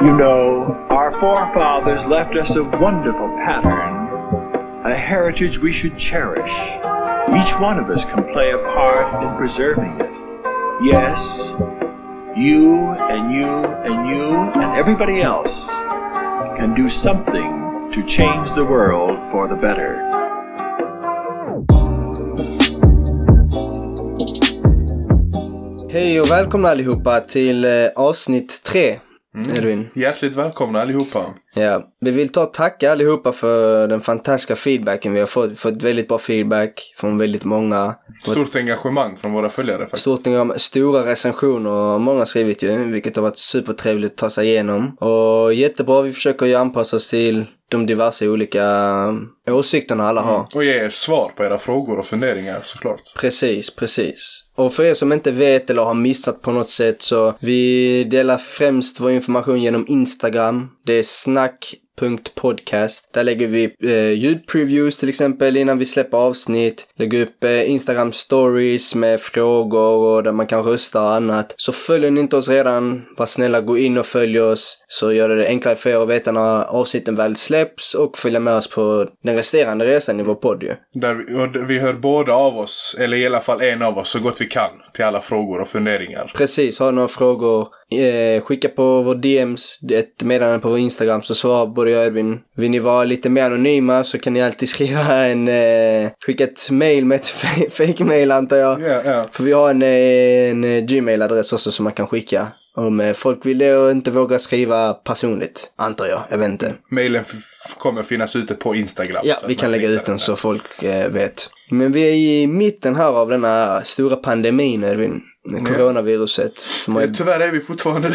You know, our forefathers left us a wonderful pattern, a heritage we should cherish. Each one of us can play a part in preserving it. Yes, you and you and you and everybody else can do something to change the world for the better. Hej och välkomna allihopa till eh, avsnitt tre, Edvin. Hjärtligt välkomna allihopa. Ja, vi vill ta och tacka allihopa för den fantastiska feedbacken vi har fått. Fått väldigt bra feedback från väldigt många. Fått Stort engagemang från våra följare faktiskt. Stort engagem- stora recensioner har många skrivit ju, vilket har varit supertrevligt att ta sig igenom. Och jättebra, vi försöker ju anpassa oss till de diverse olika eh, åsikterna alla har. Och ge er svar på era frågor och funderingar såklart. Precis, precis. Och för er som inte vet eller har missat på något sätt så vi delar främst vår information genom Instagram. Det är snack.podcast. Där lägger vi eh, ljudpreviews till exempel innan vi släpper avsnitt. Lägger upp eh, Instagram stories med frågor och där man kan rösta och annat. Så följer ni inte oss redan, var snälla gå in och följ oss. Så gör det enklare för er att veta när avsnitten väl släpps och följa med oss på den resterande resan i vår podd ju. Där vi, och vi hör båda av oss, eller i alla fall en av oss, så gott vi kan till alla frågor och funderingar. Precis, har du några frågor, eh, skicka på vår DMs, ett meddelande på vår Instagram så svarar både jag och Edvin. Vill ni vara lite mer anonyma så kan ni alltid skriva en, eh, skicka ett mail med ett fe- fake mail antar jag. Ja, ja. För vi har en, eh, en eh, Gmail-adress också som man kan skicka. Om eh, folk vill det och inte vågar skriva personligt, antar jag. Jag vet inte. Mailen f- kommer finnas ute på Instagram. Ja, så att vi man kan lägga hittar ut den så folk eh, vet. Men vi är i mitten här av den här stora pandemin, Edvin. Med coronaviruset. Som har Eh, Tyvärr är vi fortfarande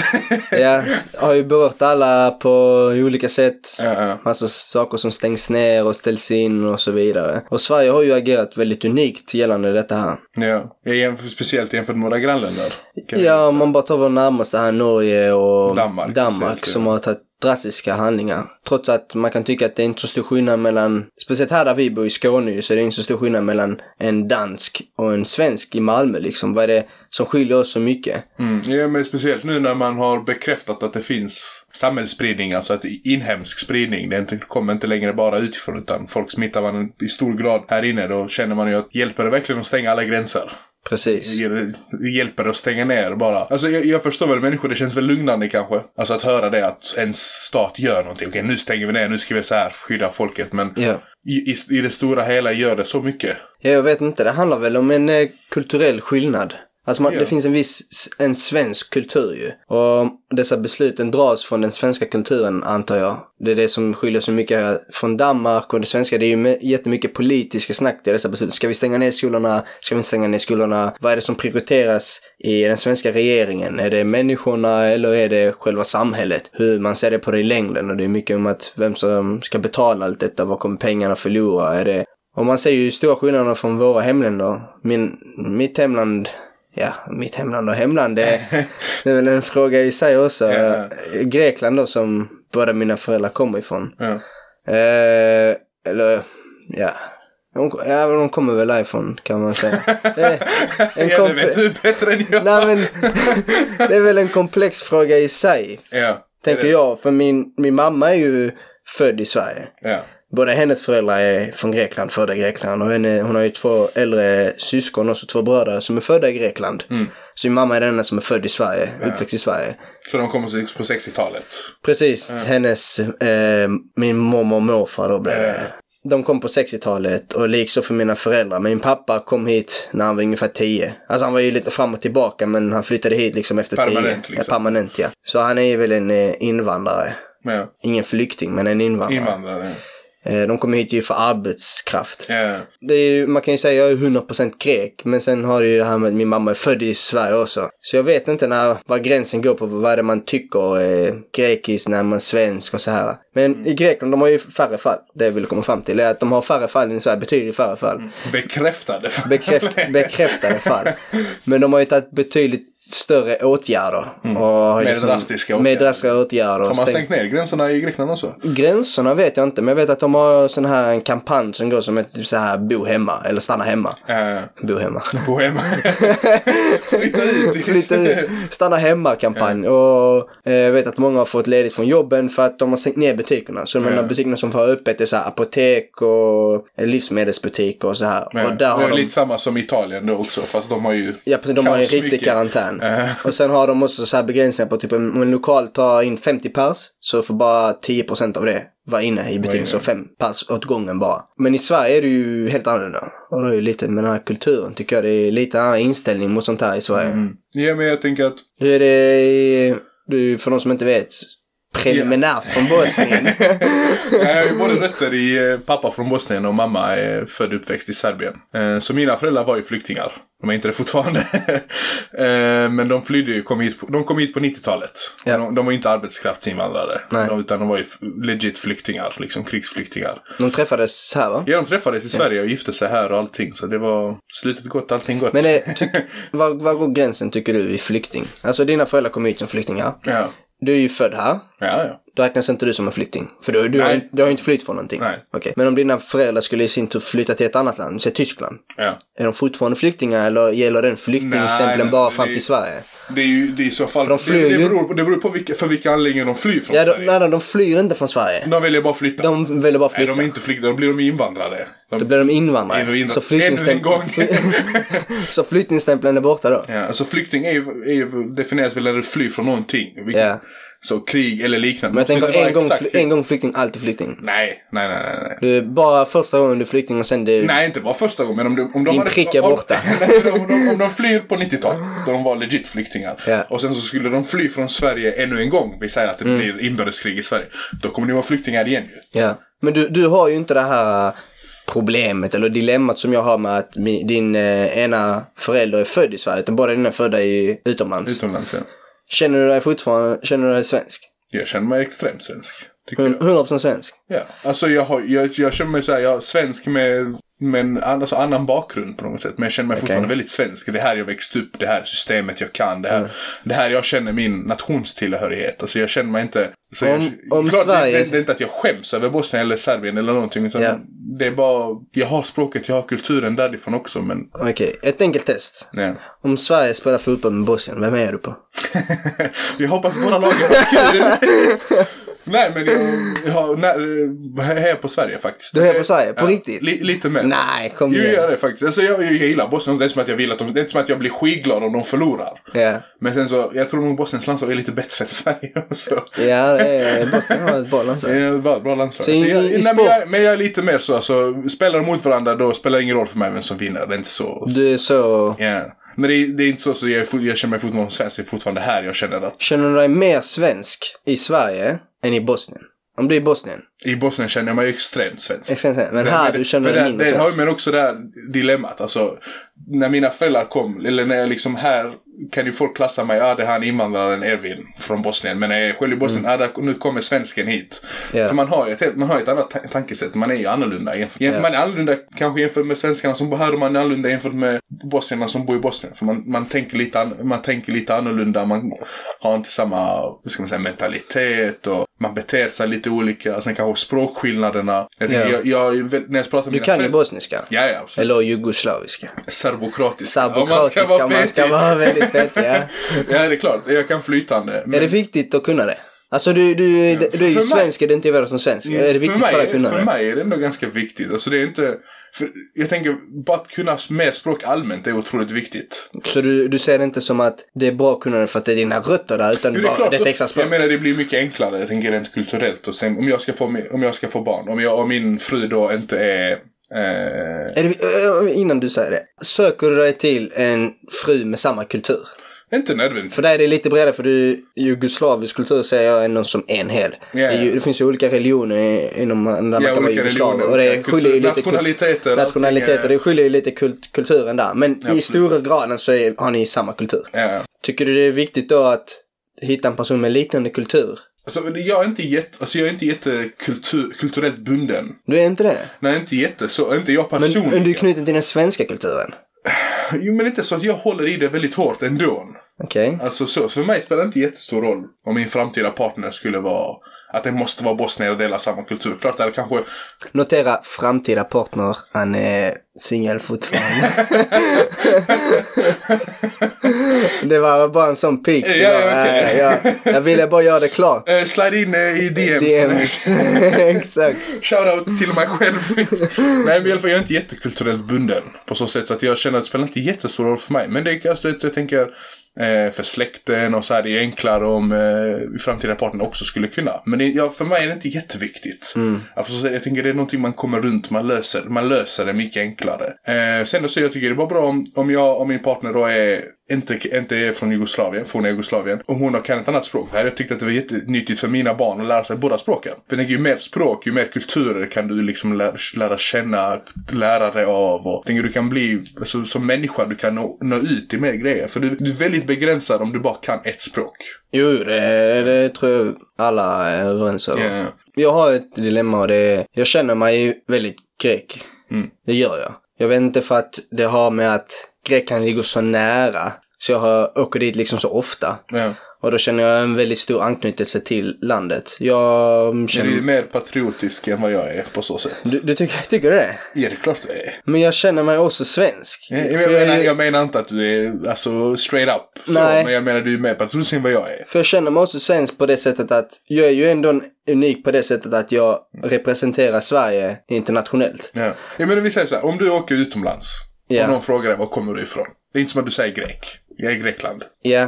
det. Ja, har ju berört alla på olika sätt. Ja, ja. Massa saker som stängs ner och ställs in och så vidare. Och Sverige har ju agerat väldigt unikt gällande detta här. ja. Jag jämför, speciellt jämfört med våra grannländer. kan vi Ja, säga. om man bara tar vår närmaste här, Norge och Danmark, Danmark speciellt, ja. som har tagit drastiska handlingar. Trots att man kan tycka att det är inte så stor skillnad mellan, speciellt här där vi bor i Skåne ju, så är det inte så stor skillnad mellan en dansk och en svensk i Malmö liksom. Vad är det som skiljer oss så mycket? Mm. Ja, men speciellt nu när man har bekräftat att det finns samhällsspridning, alltså att inhemsk spridning. Det är inte, kommer inte längre bara utifrån utan folk smittar man i stor grad här inne. Då känner man ju att hjälper det verkligen att stänga alla gränser? Precis. Hjäl- Hjälper det att stänga ner bara? Alltså jag, jag förstår väl människor, det känns väl lugnande kanske. Alltså att höra det att en stat gör någonting. Okej, nu stänger vi ner, nu ska vi så här skydda folket. Men Ja. i, i, i det stora hela gör det så mycket. Ja, jag vet inte. Det handlar väl om en eh, kulturell skillnad. Alltså man, Ja. det finns en viss, s- en svensk kultur ju. Och dessa besluten dras från den svenska kulturen antar jag. Det är det som skiljer så mycket här från Danmark och det svenska. Det är ju me- jättemycket politiska snack i dessa beslut. Ska vi stänga ner skolorna? Ska vi inte stänga ner skolorna? Vad är det som prioriteras i den svenska regeringen? Är det människorna eller är det själva samhället? Hur man ser det på det i längden och det är mycket om att vem som ska betala allt detta. Vad kommer pengarna förlora? Är det och man ser ju stora skillnader från våra hemländer. Min, mitt hemland, ja, mitt hemland och hemland, det, det är väl en fråga i sig också. Ja. Grekland då som båda mina föräldrar kommer ifrån. Ja. Eh, eller, ja. De, ja, de kommer väl därifrån kan man säga. Eh, en ja, det komp- vet du bättre än jag. Nej, men, det är väl en komplex fråga i sig, Ja, tänker det- jag. För min, min mamma är ju född i Sverige. Ja. Båda hennes föräldrar är från Grekland, födda i Grekland. Och henne, hon har ju två äldre syskon, också två bröder, som är födda i Grekland. Mm. Så min mamma är den enda som är född i Sverige, uppväxt i Sverige. Så de kommer sig på 60-talet. Precis, hennes, eh, min mormor och morfar då blev Eh, det. De kom på 60-talet och likaså för mina föräldrar. Min pappa kom hit när han var ungefär 10. Alltså han var ju lite fram och tillbaka men han flyttade hit liksom efter 10. Permanent, liksom. Ja, permanent ja. Så han är ju väl en eh, invandrare. Ja. Ingen flykting men en invandrare. Invandrare. Eh, Eh, de kom hit ju för arbetskraft. Ja. det är ju, man kan ju säga jag är 100% grek, men sen har det ju det här med att min mamma är född i Sverige också. Så jag vet inte när, var gränsen går på vad det är man tycker är grekiskt när man är svensk och så här. Men i Mm. Grekland, de har ju färre fall. Det jag vill komma fram till är att de har färre fall än i Sverige, betyder färre Mm. fall. Bekräftade. Bekräft, bekräftade fall. Men de har ju tagit betydligt större åtgärder. Mm. Och har liksom Mer drastiska åtgärder. Mer drastiska åtgärder. Har och man stängt- stängt ner gränserna i Grekland också? Gränserna vet jag inte, men jag vet att de har sån här en kampanj som går som ett typ så här bo hemma, eller stanna hemma. Eh, Bo hemma. Bohem. Flytta ut. Flytta ut. Stanna hemma-kampanj. Och eh, jag vet att många har fått ledigt från jobben för att de har stängt ner butikerna. Så de Ja. enda butikerna som får ha öppet är så här apotek och livsmedelsbutiker och så här. Men och där det har är de... lite samma som Italien då också, fast de har ju... Ja, precis. De har ju kaos riktig mycket. karantän. Eh, Och sen har de också så här begränsningar på typ om om en lokal tar in 50 pers så får bara 10% av det vara inne i butiken. inne. Så fem pers åt gången bara. Men i Sverige är det ju helt annorlunda. Och det är ju lite med den här kulturen tycker jag. Det är lite en annan inställning mot sånt här i Sverige. mm. Ja, men jag tänker att... Hur är det, i- du, för de som inte vet, preliminärt från Bosnien? Jag har ju både rötter i eh, pappa från Bosnien och mamma är född och uppväxt i Serbien. Eh, Så mina föräldrar var ju flyktingar. De är inte det fortfarande. Eh, Men de flydde ju, kom hit på, de kom hit på 90-talet. Ja. De, de var ju inte arbetskraftsinvandrare. Nej. De- Utan de var ju f- legit flyktingar, liksom krigsflyktingar. De träffades här va? Ja, de träffades i Sverige och gifte sig här och allting. Så det var slutet gott, allting gott. Men det, ty, var, var går gränsen tycker du i flykting? Alltså dina föräldrar kom hit som flyktingar. Ja, Du är ju född här. ja, ja. Då räknas inte du som en flykting. För du, du, har, Nej. ju- du har ju inte flytt från någonting. Nej. Okej. Men om dina föräldrar skulle i sin tur flytta till ett annat land, säg Tyskland. ja. Är de fortfarande flyktingar eller gäller den flyktingstämpeln Nej, bara det- fram till Sverige? Det är ju det är i så fall... För de flyr det, det, ju- beror, det beror på vilka, för vilka anledningar de flyr från Ja, de, Sverige. nej, nej, de flyr inte från Sverige. De väljer bara att flytta. De väljer bara Nej, flytta. de är inte flyktingar, då blir de invandrare. De, Då blir de invandrare. Ännu invand- Så, Ännu en flyktingstämpeln... gång. så flyktingstämpeln är borta då? ja, alltså flykting är ju, är ju definieras väl när du flyr från någonting. Vilket, Ja. Så krig eller liknande. Men jag Det måste tänker inte en vara gång, exakt- fly- en gång flykting, alltid flykting. Nej, nej, nej, nej. nej. Du är bara första gången du är flykting och sen du... Nej, inte bara första gången. Men om, de- om de Din hade, prick är om- borta. Nej, men om, de, om de flyr på 90-talet, då de var legit flyktingar. Ja. Mm. Och sen så skulle de fly från Sverige ännu en gång. Vi säger att det blir inbördeskrig i Sverige. Då kommer de vara flyktingar igen ju. Ja. Men du, du har ju inte det här äh, problemet eller dilemmat som jag har med att mi- din eh, ena förälder är född i Sverige, utan båda dina är födda i, utomlands. Utomlands ja. Känner du dig fortfarande, känner du dig svensk? Jag känner mig extremt svensk. Tycker jag. Hun- 100% svensk? Ja, alltså jag, har, jag, jag känner mig så här, jag är svensk med, med en an- alltså annan bakgrund på något sätt. Men jag känner mig fortfarande väldigt svensk. Det här jag växte upp, det här systemet jag kan, det här, Mm. det här jag känner min nationstillhörighet. Alltså jag känner mig inte... Så Om- jag, om klart, Sverige- det, det, det är inte att jag skäms över Bosnien eller Serbien eller någonting. Utan Ja. Det är bara, jag har språket, jag har kulturen därifrån också. Men Okej, ett enkelt test. nej. Om Sverige spelar fotboll med Bosnien, vem är du på? Vi hoppas båda lagen har kul. Nej men jag, jag, har- nej, jag är på Sverige faktiskt. Du hejar på Sverige? På riktigt? Li, lite mer. Nej, kom Jo, jag igen. gör det faktiskt. Alltså, jag, jag gillar Bosnien. Det är, som att jag vill att de, det är inte som att jag blir skitglad om de förlorar. Ja, Men sen så, jag tror nog Bosniens landslag är lite bättre än Sverige. och Så. ja det är, Bosnien har ett bra Det landslag. är ett bra, bra landslag. Alltså, Så i- jag, i men, sport? jag, men jag är lite mer så, alltså, spelar de mot varandra då spelar det ingen roll för mig vem som vinner. Det är inte så. Du är så... Ja. Men det är, det är inte så, så jag, är fort- jag känner mig fortfarande svensk. Jag är fortfarande här. Jag känner att Känner du dig mer svensk i Sverige än i Bosnien? Om du är i Bosnien? i Bosnien känner jag mig extremt svensk. Exakt, men Men- här men- du känner men dig det- mindre det, svensk. har Men också det här dilemmat. Alltså, när mina föräldrar kom, eller när jag liksom här, kan ju folk klassa mig, ja ah, det är han invandraren Ervin från Bosnien. Men när jag är själv i Bosnien, ah, där, nu kommer svensken hit. Mm. Ja. För man har ju ett, helt- man har ett annat ta- tankesätt, man är ju annorlunda. Jämf- jäm- Ja. Man är annorlunda kanske jämfört med svenskarna som bor här och man är annorlunda jämfört med bosnierna som bor i Bosnien. För man, man, tänker lite an, man tänker lite annorlunda, man har inte samma hur ska man säga, mentalitet och man beter sig lite olika. Sen kanske språkskillnaderna. Jag tänker, Ja. jag, jag, när jag pratar med Du mina kan ju föräldrar- bosniska. Ja, ja, absolut. Eller jugoslaviska. Serbokratisk. Serbokratiska, man ska vara väldigt fettig. Ja. ja, det är klart. Jag kan flytande. Men Är det viktigt att kunna det? Alltså du, du, du, du är ju För mig- Mm, svensk identifierad som svensk. Är det viktigt för, för, dig mig, att kunna för det? mig är det ändå ganska viktigt. Alltså, det är inte... För jag tänker, bara att kunna mer språk allmänt är otroligt viktigt. Så du, du ser det inte som att det är bra att kunna det för att det är dina rötter där, utan Jo, du bara, det är ett extra språk. jag menar, det blir mycket enklare, jag tänker rent kulturellt. Och sen, om, jag ska få, mi- om jag ska få barn, om jag och min fru då inte är... Eh, Är det, eh, innan du säger det. Söker du dig till en fru med samma kultur? inte nödvändigt. För dig är det lite bredare, för du, jugoslavisk kultur säger jag är någon som en hel. Ja, ja. Det, är ju- det finns ju olika religioner i- inom där man Ja, kan vara olika jugoslav. religioner, Och det olika skiljer ju kultur- lite kul- nationaliteter, nationaliteter. allting är- Det skiljer ju lite kult, kulturen där. Men i absolut. stora graden så är, har ni samma kultur. Ja. Tycker du det är viktigt då att hitta en person med liknande kultur? Alltså, jag är inte, jätte, alltså, jag är inte jättekultur, kulturellt bunden. Du är inte det? Nej, inte jätte. Så, inte jag Men, personligen. men du är knuten till den svenska kulturen? Jo, men inte så att jag håller i det väldigt hårt ändå. Okej. Alltså så, för mig spelar det inte jättestor roll om min framtida partner skulle vara att det måste vara bosnier och dela samma kultur. Klart det hade kanske... Notera framtida partner. Han är singel fortfarande. det var bara en sån pik. Ja, ja, okej. Eh, jag, jag ville bara göra det klart. Eh, slide in eh, i DMs. DMs. Exakt. Shoutout till mig själv. Nej men i alla fall jag är inte jättekulturellt bunden. På så sätt så att jag känner att det spelar inte jättestor roll för mig. Men det är alltså, jag tänker eh, för släkten och så här. Det är enklare om eh, framtida partner också skulle kunna. Men det, ja, för mig är det inte jätteviktigt. Alltså, jag tänker det är någonting man kommer runt. Man löser, man löser det mycket enklare. Eh, sen då så jag tycker det är bara bra om, om jag och min partner då är inte, inte är från Jugoslavien, forna Jugoslavien. Och hon kan ett annat språk. Här, jag tyckte att det var jättenyttigt för mina barn att lära sig båda språken. För jag tänker, ju mer språk, ju mer kulturer kan du liksom lära, lära känna, lära dig av. Och jag tänker, du kan bli, alltså, som människa, du kan nå, nå ut till mer grejer. För du, du är väldigt begränsad om du bara kan ett språk. Jo, det, det tror jag alla är överens om. Ja. Jag har ett dilemma och det är, jag känner mig ju väldigt grek. Mm. Det gör jag. Jag vet inte för att det har med att Grekland ligger så nära. Så jag har, åker dit liksom så ofta. Ja. Och då känner jag en väldigt stor anknytelse till landet. Jag Du är ju känner... mer patriotisk än vad jag är på så sätt. Du, du tycker, tycker du det? Ja, det är klart du är. Men jag känner mig också svensk. Jag, för, Eh, jag, jag, menar, jag menar inte att du är alltså, straight up. Så, Nej. men jag menar du är mer patriotisk än vad jag är. för jag känner mig också svensk på det sättet att jag är ju ändå en- unik på det sättet att jag representerar Sverige internationellt. Ja. Jag menar vi säger så här, om du åker utomlands Ja. och någon frågar dig var kommer du ifrån? Det är inte som att du säger grek. Jag är i Grekland. Ja.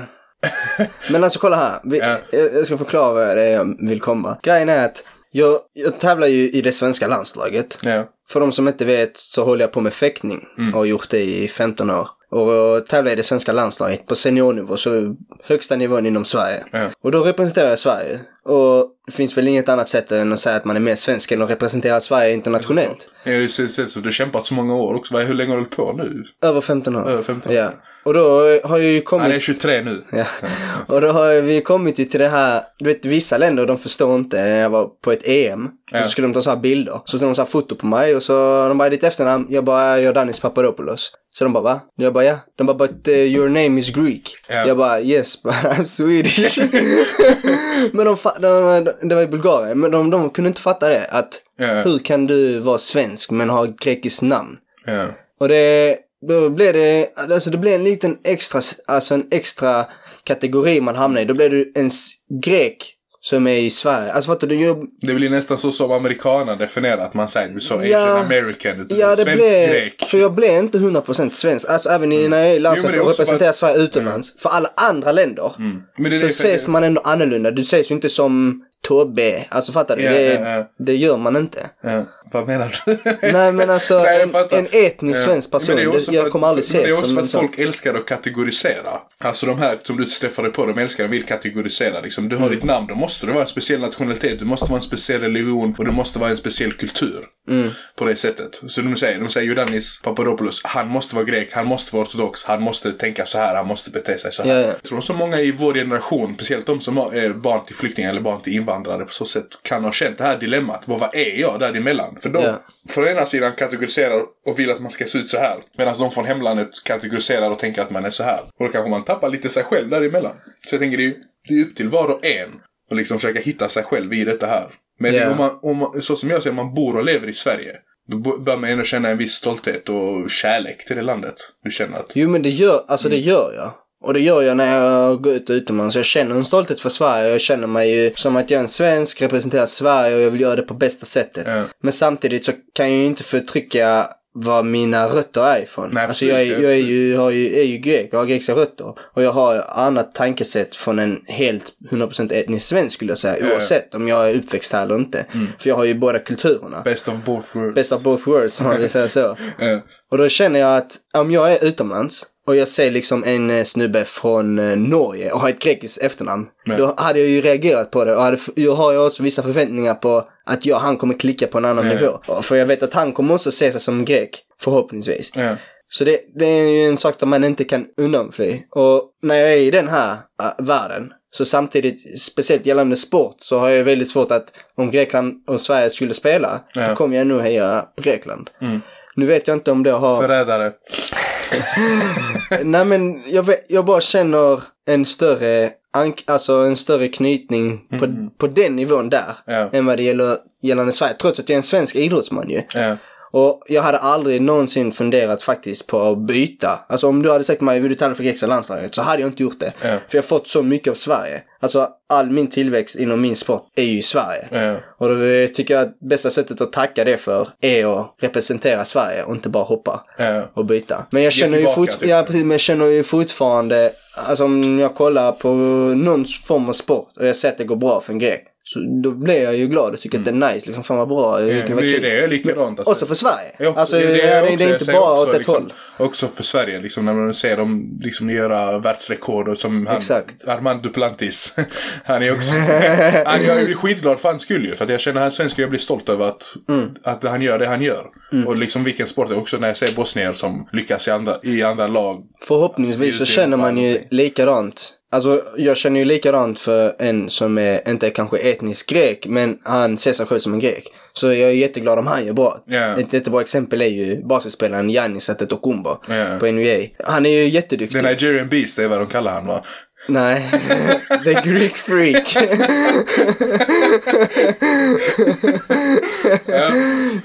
Men alltså kolla här. Vi, Ja. jag, jag ska förklara vad det är jag vill komma. Grejen är att jag, jag tävlar ju i det svenska landslaget. Ja. För de som inte vet så håller jag på med fäktning Mm. och har gjort det i 15 år. Och tävlar i det svenska landslaget på seniornivå, så högsta nivån inom Sverige. Ja. Och då representerar jag Sverige. Och det finns väl inget annat sätt än att säga att man är mer svensk än att representera Sverige internationellt. Ja, Det ser ut som du har kämpat så många år också. Vad- Hur länge har du hållit på nu? Över 15 år. Över 15 år. Ja. Och då har jag ju kommit... Han är 23 nu. Ja. Och då har vi kommit ju till det här, du vet vissa länder de förstår inte när jag var på ett EM. Ja. Och så skulle de ta så här bilder. Så tog de så här foto på mig och så de bara ditt efternamn. Jag bara, jag är Danis Papadopoulos. Så de bara va? Jag bara ja. De bara but eh, your name is Greek. Ja. Jag bara yes but I'm Swedish. men de, fa- de, de, det var i Bulgarien, men de, de kunde inte fatta det. Att Ja. hur kan du vara svensk men ha grekiskt namn? Ja. Och det, då blev det, alltså det blev en liten extra, alltså en extra kategori man hamnade i. Då blev du en s- grek som är i Sverige. Alltså fattar du? Jag, Det blir nästan så som amerikaner definierar att man säger så Ja. Asian American. utan ja, det svensk blev, grek. Mm. för jag blev inte 100% svensk. Alltså även i- när jag är i Jo, men det landslaget är och också representerar bara- Sverige utomlands. För alla andra länder Mm. Men det är så det- ses man ändå annorlunda. Du ses ju inte som Tobbe. Alltså fattar du? Ja, det, ja, ja. det gör man inte. Ja. Vad menar du? Nej men alltså Nej, jag en, fattar. en etnisk Ja. svensk person. Men det är också Det, jag för att- kommer aldrig men Det ses är också som för en att sån. folk älskar att kategorisera. Alltså de här som du träffade på, de älskar och vill kategorisera. Liksom, du har Mm. ditt namn, då måste du vara en speciell nationalitet, du måste vara en speciell religion och du måste vara en speciell kultur. Mm. På det sättet. Så de säger, de säger Judanis Papadopoulos, han måste vara grek, han måste vara ortodox, han måste tänka så här, han måste bete sig så här. Ja, ja. Jag tror så många i vår generation, speciellt de som har eh, barn till flyktingar eller barn till invandrare på så sätt, kan ha känt det här dilemmat. Bara, vad är jag däremellan? För de, Ja. från ena sidan kategoriserar och vill att man ska se ut så här. Medan de från hemlandet kategoriserar och tänker att man är så här. Och då kanske man tappar lite sig själv däremellan. Så jag tänker det är, ju- det är upp till var och en att liksom försöka hitta sig själv i detta här. Men Ja. om man, om man, så som jag ser om man bor och lever i Sverige. Då bo- bör man ändå känna en viss stolthet och kärlek till det landet. Du känner att... Jo men det gör, alltså det Mm. gör jag. Och det gör jag när jag går ut utomlands. Jag känner en stolthet för Sverige. Jag känner mig ju som att jag är en svensk, representerar Sverige och jag vill göra det på bästa sättet. Ja. Men samtidigt så kan jag ju inte förtrycka vad mina rötter är ifrån. Nej, alltså jag, är, absolut, jag är ju, har ju, är ju grek, jag har grekiska rötter. Och jag har annat tankesätt från en helt 100% etnisk svensk skulle jag säga. ja. Mm. Oavsett om jag är uppväxt här eller inte. För jag har ju båda kulturerna. Best of both worlds. Eh, Best of both worlds om man vill säga så. Ja. Och då känner jag att om jag är utomlands och jag ser liksom en eh, snubbe från eh, Norge och har ett grekiskt efternamn. Ja. Då hade jag ju reagerat på det och hade, f- jag har ju också vissa förväntningar på att jag och han kommer klicka på en annan Ja. nivå. Och För jag vet att han kommer också se sig som grek, förhoppningsvis. Ja. Så det, det är ju en sak där man inte kan undanfly. Och när jag är i den här äh, världen, så samtidigt, speciellt gällande sport, så har jag väldigt svårt att om Grekland och Sverige skulle spela, Ja. då kommer jag nog heja på Grekland. Mm. Nu vet jag inte om det har... Förrädare. Nej men jag, vet, jag bara känner en större, ank- alltså en större knytning på, på den nivån där. Mm. Ja. Än vad det gäller gällande Sverige. Trots att jag är en svensk idrottsman ju. Ja. Och jag hade aldrig någonsin funderat faktiskt på att byta. Alltså om du hade sagt till mig, vill du tala för Greklands landslaget? Så hade jag inte gjort det. Ja. För jag har fått så mycket av Sverige. Alltså all min tillväxt inom min sport är ju i Sverige. Ja. Och då tycker jag att bästa sättet att tacka det för är att representera Sverige och inte bara hoppa Ja. och byta. Men jag Ge känner, tillbaka, ju fort- typ. ja, precis, men jag känner ju fortfarande, alltså om jag kollar på någon form av sport och jag ser att det går bra för en grek. Så då blir jag ju glad och tycker att det är nice. Liksom, fan vad bra. Mm. Ja, vilken- vad det är kul. det är likadant. Också för Sverige. Ja, alltså, det- det, det är det, också- är jag inte säger bara också åt ett liksom- håll. Också för Sverige, liksom, när man ser dem liksom, göra världsrekord och som han, Exakt. Armand Duplantis. han är också... han, jag blir skitglad för hans skull ju. För att jag känner han svensk jag blir stolt över att, Mm. att han gör det han gör. Och liksom vilken sport det är. Också när jag ser bosnier som lyckas i andra, i andra lag. Förhoppningsvis så Utbildning känner man på ju allting. likadant. Alltså jag känner ju likadant för en som är, inte är kanske etnisk grek, men han ser sig själv som en grek. Så jag är jätteglad om han gör bra. Ja. Ett jättebra exempel är ju basketspelaren Giannis Antetokounmpo Ja. på NBA. Han är ju jätteduktig. The Nigerian Beast, det är vad de kallar han va? Nej, the Greek freak.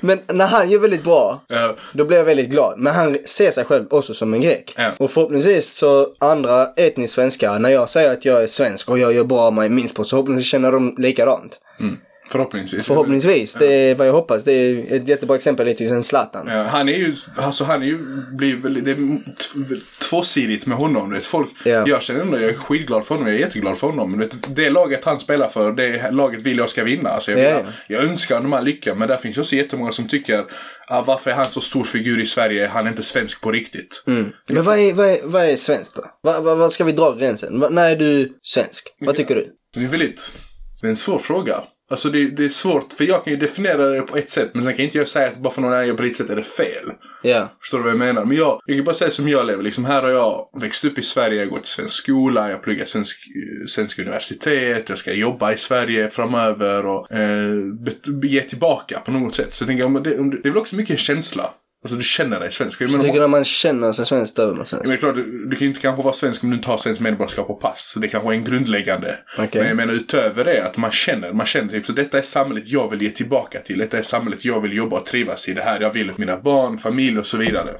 Men när han gör väldigt bra, Ja. då blir jag väldigt glad. Men han ser sig själv också som en grek. Ja. Och förhoppningsvis så andra etniskt svenskar, när jag säger att jag är svensk och jag gör bra med min sport, så förhoppningsvis känner de likadant. mm. Förhoppningsvis. Förhoppningsvis, det är vad jag hoppas. Det är ett jättebra exempel, det är ju en Zlatan. Ja, han är ju, alltså han är ju, blir väl, det är t- tvåsidigt med honom. Du vet. Folk, Ja. Jag känner ändå, jag är skitglad för honom, jag är jätteglad för honom. Du Vet, det laget han spelar för, det laget vill jag ska vinna. Alltså jag, Ja, vill- ja. jag önskar honom all lycka, men där finns ju också jättemånga som tycker, ah, varför är han så stor figur i Sverige, han är inte svensk på riktigt. Men vad är, vad är, vad är svenskt då? Vad, vad, vad ska vi dra gränsen? Vad- när är du svensk? Vad tycker du? Det är väldigt, det är en svår fråga. Alltså det, det är svårt, för jag kan ju definiera det på ett sätt, men sen kan inte jag säga att bara för någon annan gör på ditt sätt är det fel. Ja. Förstår du vad jag menar? Men jag, jag kan bara säga som jag lever. Liksom, här har jag växt upp i Sverige, jag har gått i svensk skola, jag pluggar svensk, eh, svensk universitet, jag ska jobba i Sverige framöver och eh, bet- ge tillbaka på något sätt. Så jag tänker, om det, om det, det är väl också mycket en känsla. Alltså du känner dig svensk. Jag Jag menar, om, tycker när man känner sig svensk, då är man jag svensk. menar klart, du, du kan ju inte kanske vara svensk om du inte har svenskt medborgarskap och pass. Så det kanske är en grundläggande. Okej. Men jag menar utöver det att man känner, man känner typ så detta är samhället jag vill ge tillbaka till. Detta är samhället jag vill jobba och trivas i. Det här jag vill med mina barn, familj och så vidare.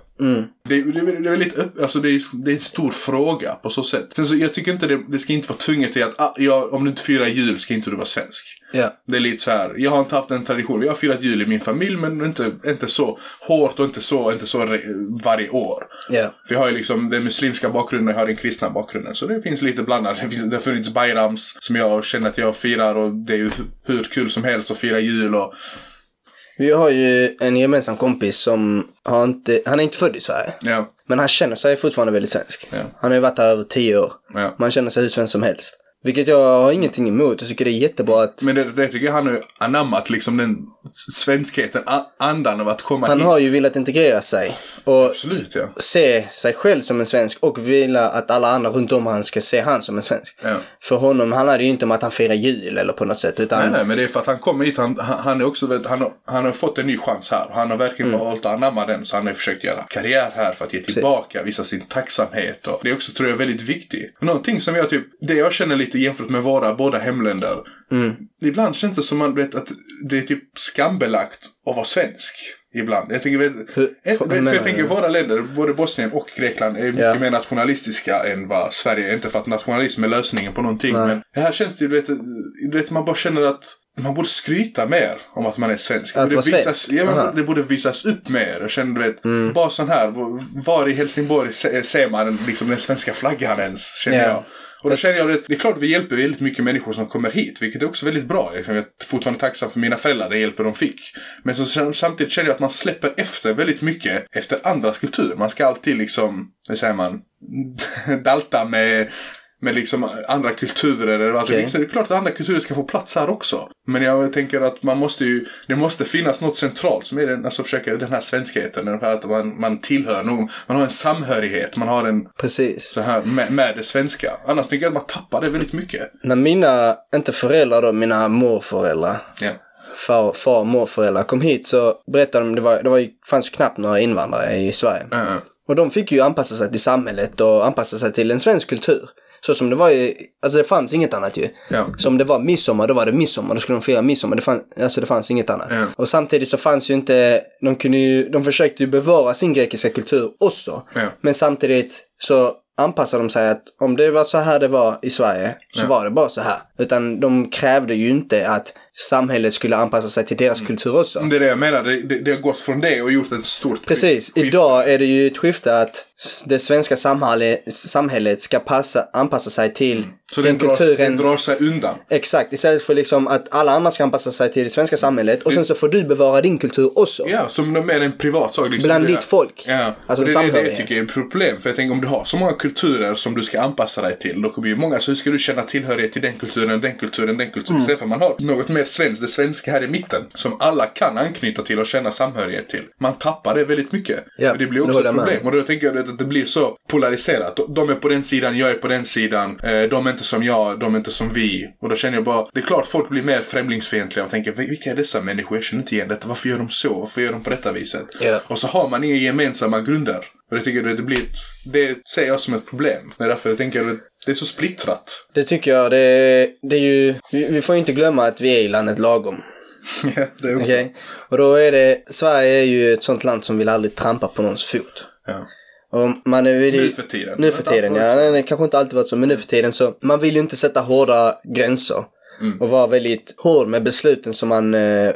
Det, det, är väl- det är väl lite upp, alltså det är, det är en stor fråga på så sätt. Sen så jag tycker inte det, det ska inte vara tvunget till att ah, ja, om du inte firar jul ska inte du vara svensk. Ja. Det är lite så här, jag har inte haft en tradition. Jag har firat jul i min familj men inte, inte så hårt och inte så, inte så re- varje år. Ja. För jag har ju liksom den muslimska bakgrunden och jag har den kristna bakgrunden. Så det finns lite blandat. Det, finns, det har funnits bayrams som jag känner att jag firar och det är ju hur kul som helst att fira jul och... Vi har ju en gemensam kompis som har inte, han är inte född i Sverige. Ja, Men han känner sig fortfarande väldigt svensk. Ja. Han har ju varit här över tio år. ja. Man känner sig hur svensk som helst. Vilket jag har ingenting emot. Jag tycker det är jättebra att Men det, det tycker jag han har ju anammat liksom den s- svenskheten, a- andan av att komma han hit. har ju velat integrera sig. Och Absolut ja. se sig själv som en svensk och vilja att alla andra runt om han ska se han som en svensk. Ja. För honom handlar det ju inte om att han firar jul eller på något sätt. Utan Nej, nej, men det är för att han kommer hit, han, han han är också, vet, han, har, han har fått en ny chans här. Han har verkligen Mm. valt att anamma den, så han har försökt göra karriär här för att ge tillbaka, visa sin tacksamhet. Och det är också, tror jag, väldigt viktigt. Någonting som jag typ, det jag känner lite jämfört med våra båda hemländer. Mm. Ibland känns det som man vet att det är typ skambelagt att vara svensk. Ibland. Jag tänker, vet, Hur- vet, vad vet, menar jag tänker du? våra länder, både Bosnien och Grekland, är mycket Ja. mer nationalistiska än vad Sverige är. Inte för att nationalism är lösningen på någonting. Nej. Men det här känns det ju, du vet, du vet, man bara känner att man borde skryta mer om att man är svensk. Att Det borde vara svensk? visas, ja, Aha. Mm. men det borde visas upp mer. Jag känner, du vet, bara sån här. Var i Helsingborg se- ser man liksom den svenska flaggan ens, känner Ja. jag. Och då känner jag att det är klart vi hjälper väldigt mycket människor som kommer hit, vilket är också väldigt bra. Liksom. Jag är fortfarande tacksam för mina föräldrar, den hjälpen de fick. Men så, samtidigt känner jag att man släpper efter väldigt mycket efter andras kultur. Man ska alltid liksom, hur säger man, dalta med, med liksom andra kulturer. Eller alltså, Okej. liksom, det är klart att andra kulturer ska få plats här också. Men jag tänker att man måste ju, det måste finnas något centralt som är den, alltså försöka den här svenskheten. Den här att man, man tillhör någon, man har en samhörighet, man har en precis. så här med, med det svenska. Annars tänker jag att man tappar det väldigt mycket. När mina, inte föräldrar då, mina morföräldrar, Ja. far, far och morföräldrar kom hit så berättade de, det, var, det var ju, fanns ju knappt några invandrare i Sverige. Eh, Och de fick ju anpassa sig till samhället och anpassa sig till en svensk kultur. Så som det var ju, alltså det fanns inget annat ju. Ja. Som det var midsommar, då var det midsommar. Då skulle de fira midsommar. Det fanns, alltså det fanns inget annat. Ja. Och samtidigt så fanns ju inte, de, kunde ju, de försökte ju bevara sin grekiska kultur också. Ja. Men samtidigt så anpassade de sig att om det var så här det var i Sverige så Ja. var det bara så här. Utan de krävde ju inte att samhället skulle anpassa sig till Mm. deras kultur också. Det är det jag menar. Det, det, det har gått från det och gjort ett stort Precis, skifte. idag är det ju ett skifte att s- det svenska samhälle, samhället ska passa, anpassa sig till Mm. Så den den, drar, kulturen. den drar sig undan. Exakt, istället för liksom att alla andra ska anpassa sig till det svenska samhället och sen så får du bevara din kultur också. Mm. Ja, som de är en privat sak. Liksom. Bland Det är- ditt folk. Ja. Alltså och det är det jag samhörighet. tycker är ett problem. För jag tänker om du har så många kulturer som du ska anpassa dig till. Då kommer ju många, så hur ska du känna tillhörighet till den kulturen, den kulturen, den Mm. kulturen. Istället för att man har något mer svenskt, det svenska här i mitten. Som alla kan anknyta till och känna samhörighet till. Man tappar det väldigt mycket. Ja, och det blir det också håller ett jag med problem. Och då tänker jag att det blir så polariserat. De är på den sidan, jag är på den sidan. Eh, De är inte som jag, de är inte som vi. Och då känner jag bara, det är klart folk blir mer främlingsfientliga och tänker, vilka är dessa människor? Jag känner inte igen detta. Varför gör de så? Varför gör de på detta viset? Ja. Och så har man inga gemensamma grunder. Och det tycker jag det blir, ett- det ser jag som ett problem. Det är därför jag tänker att det är så splittrat. Det tycker jag, det, det är ju, vi, vi får ju inte glömma att vi är i landet lagom. Ja, det är också- Okej? Och då är det, Sverige är ju ett sånt land som vill aldrig trampa på någons fot. ja. Och man är vill ju, Nu för tiden. Nu för tiden, ja. Det kanske inte alltid varit så, men nu för tiden så. Man vill ju inte sätta hårda gränser. Mm. Och vara väldigt hård med besluten som man eh, eh,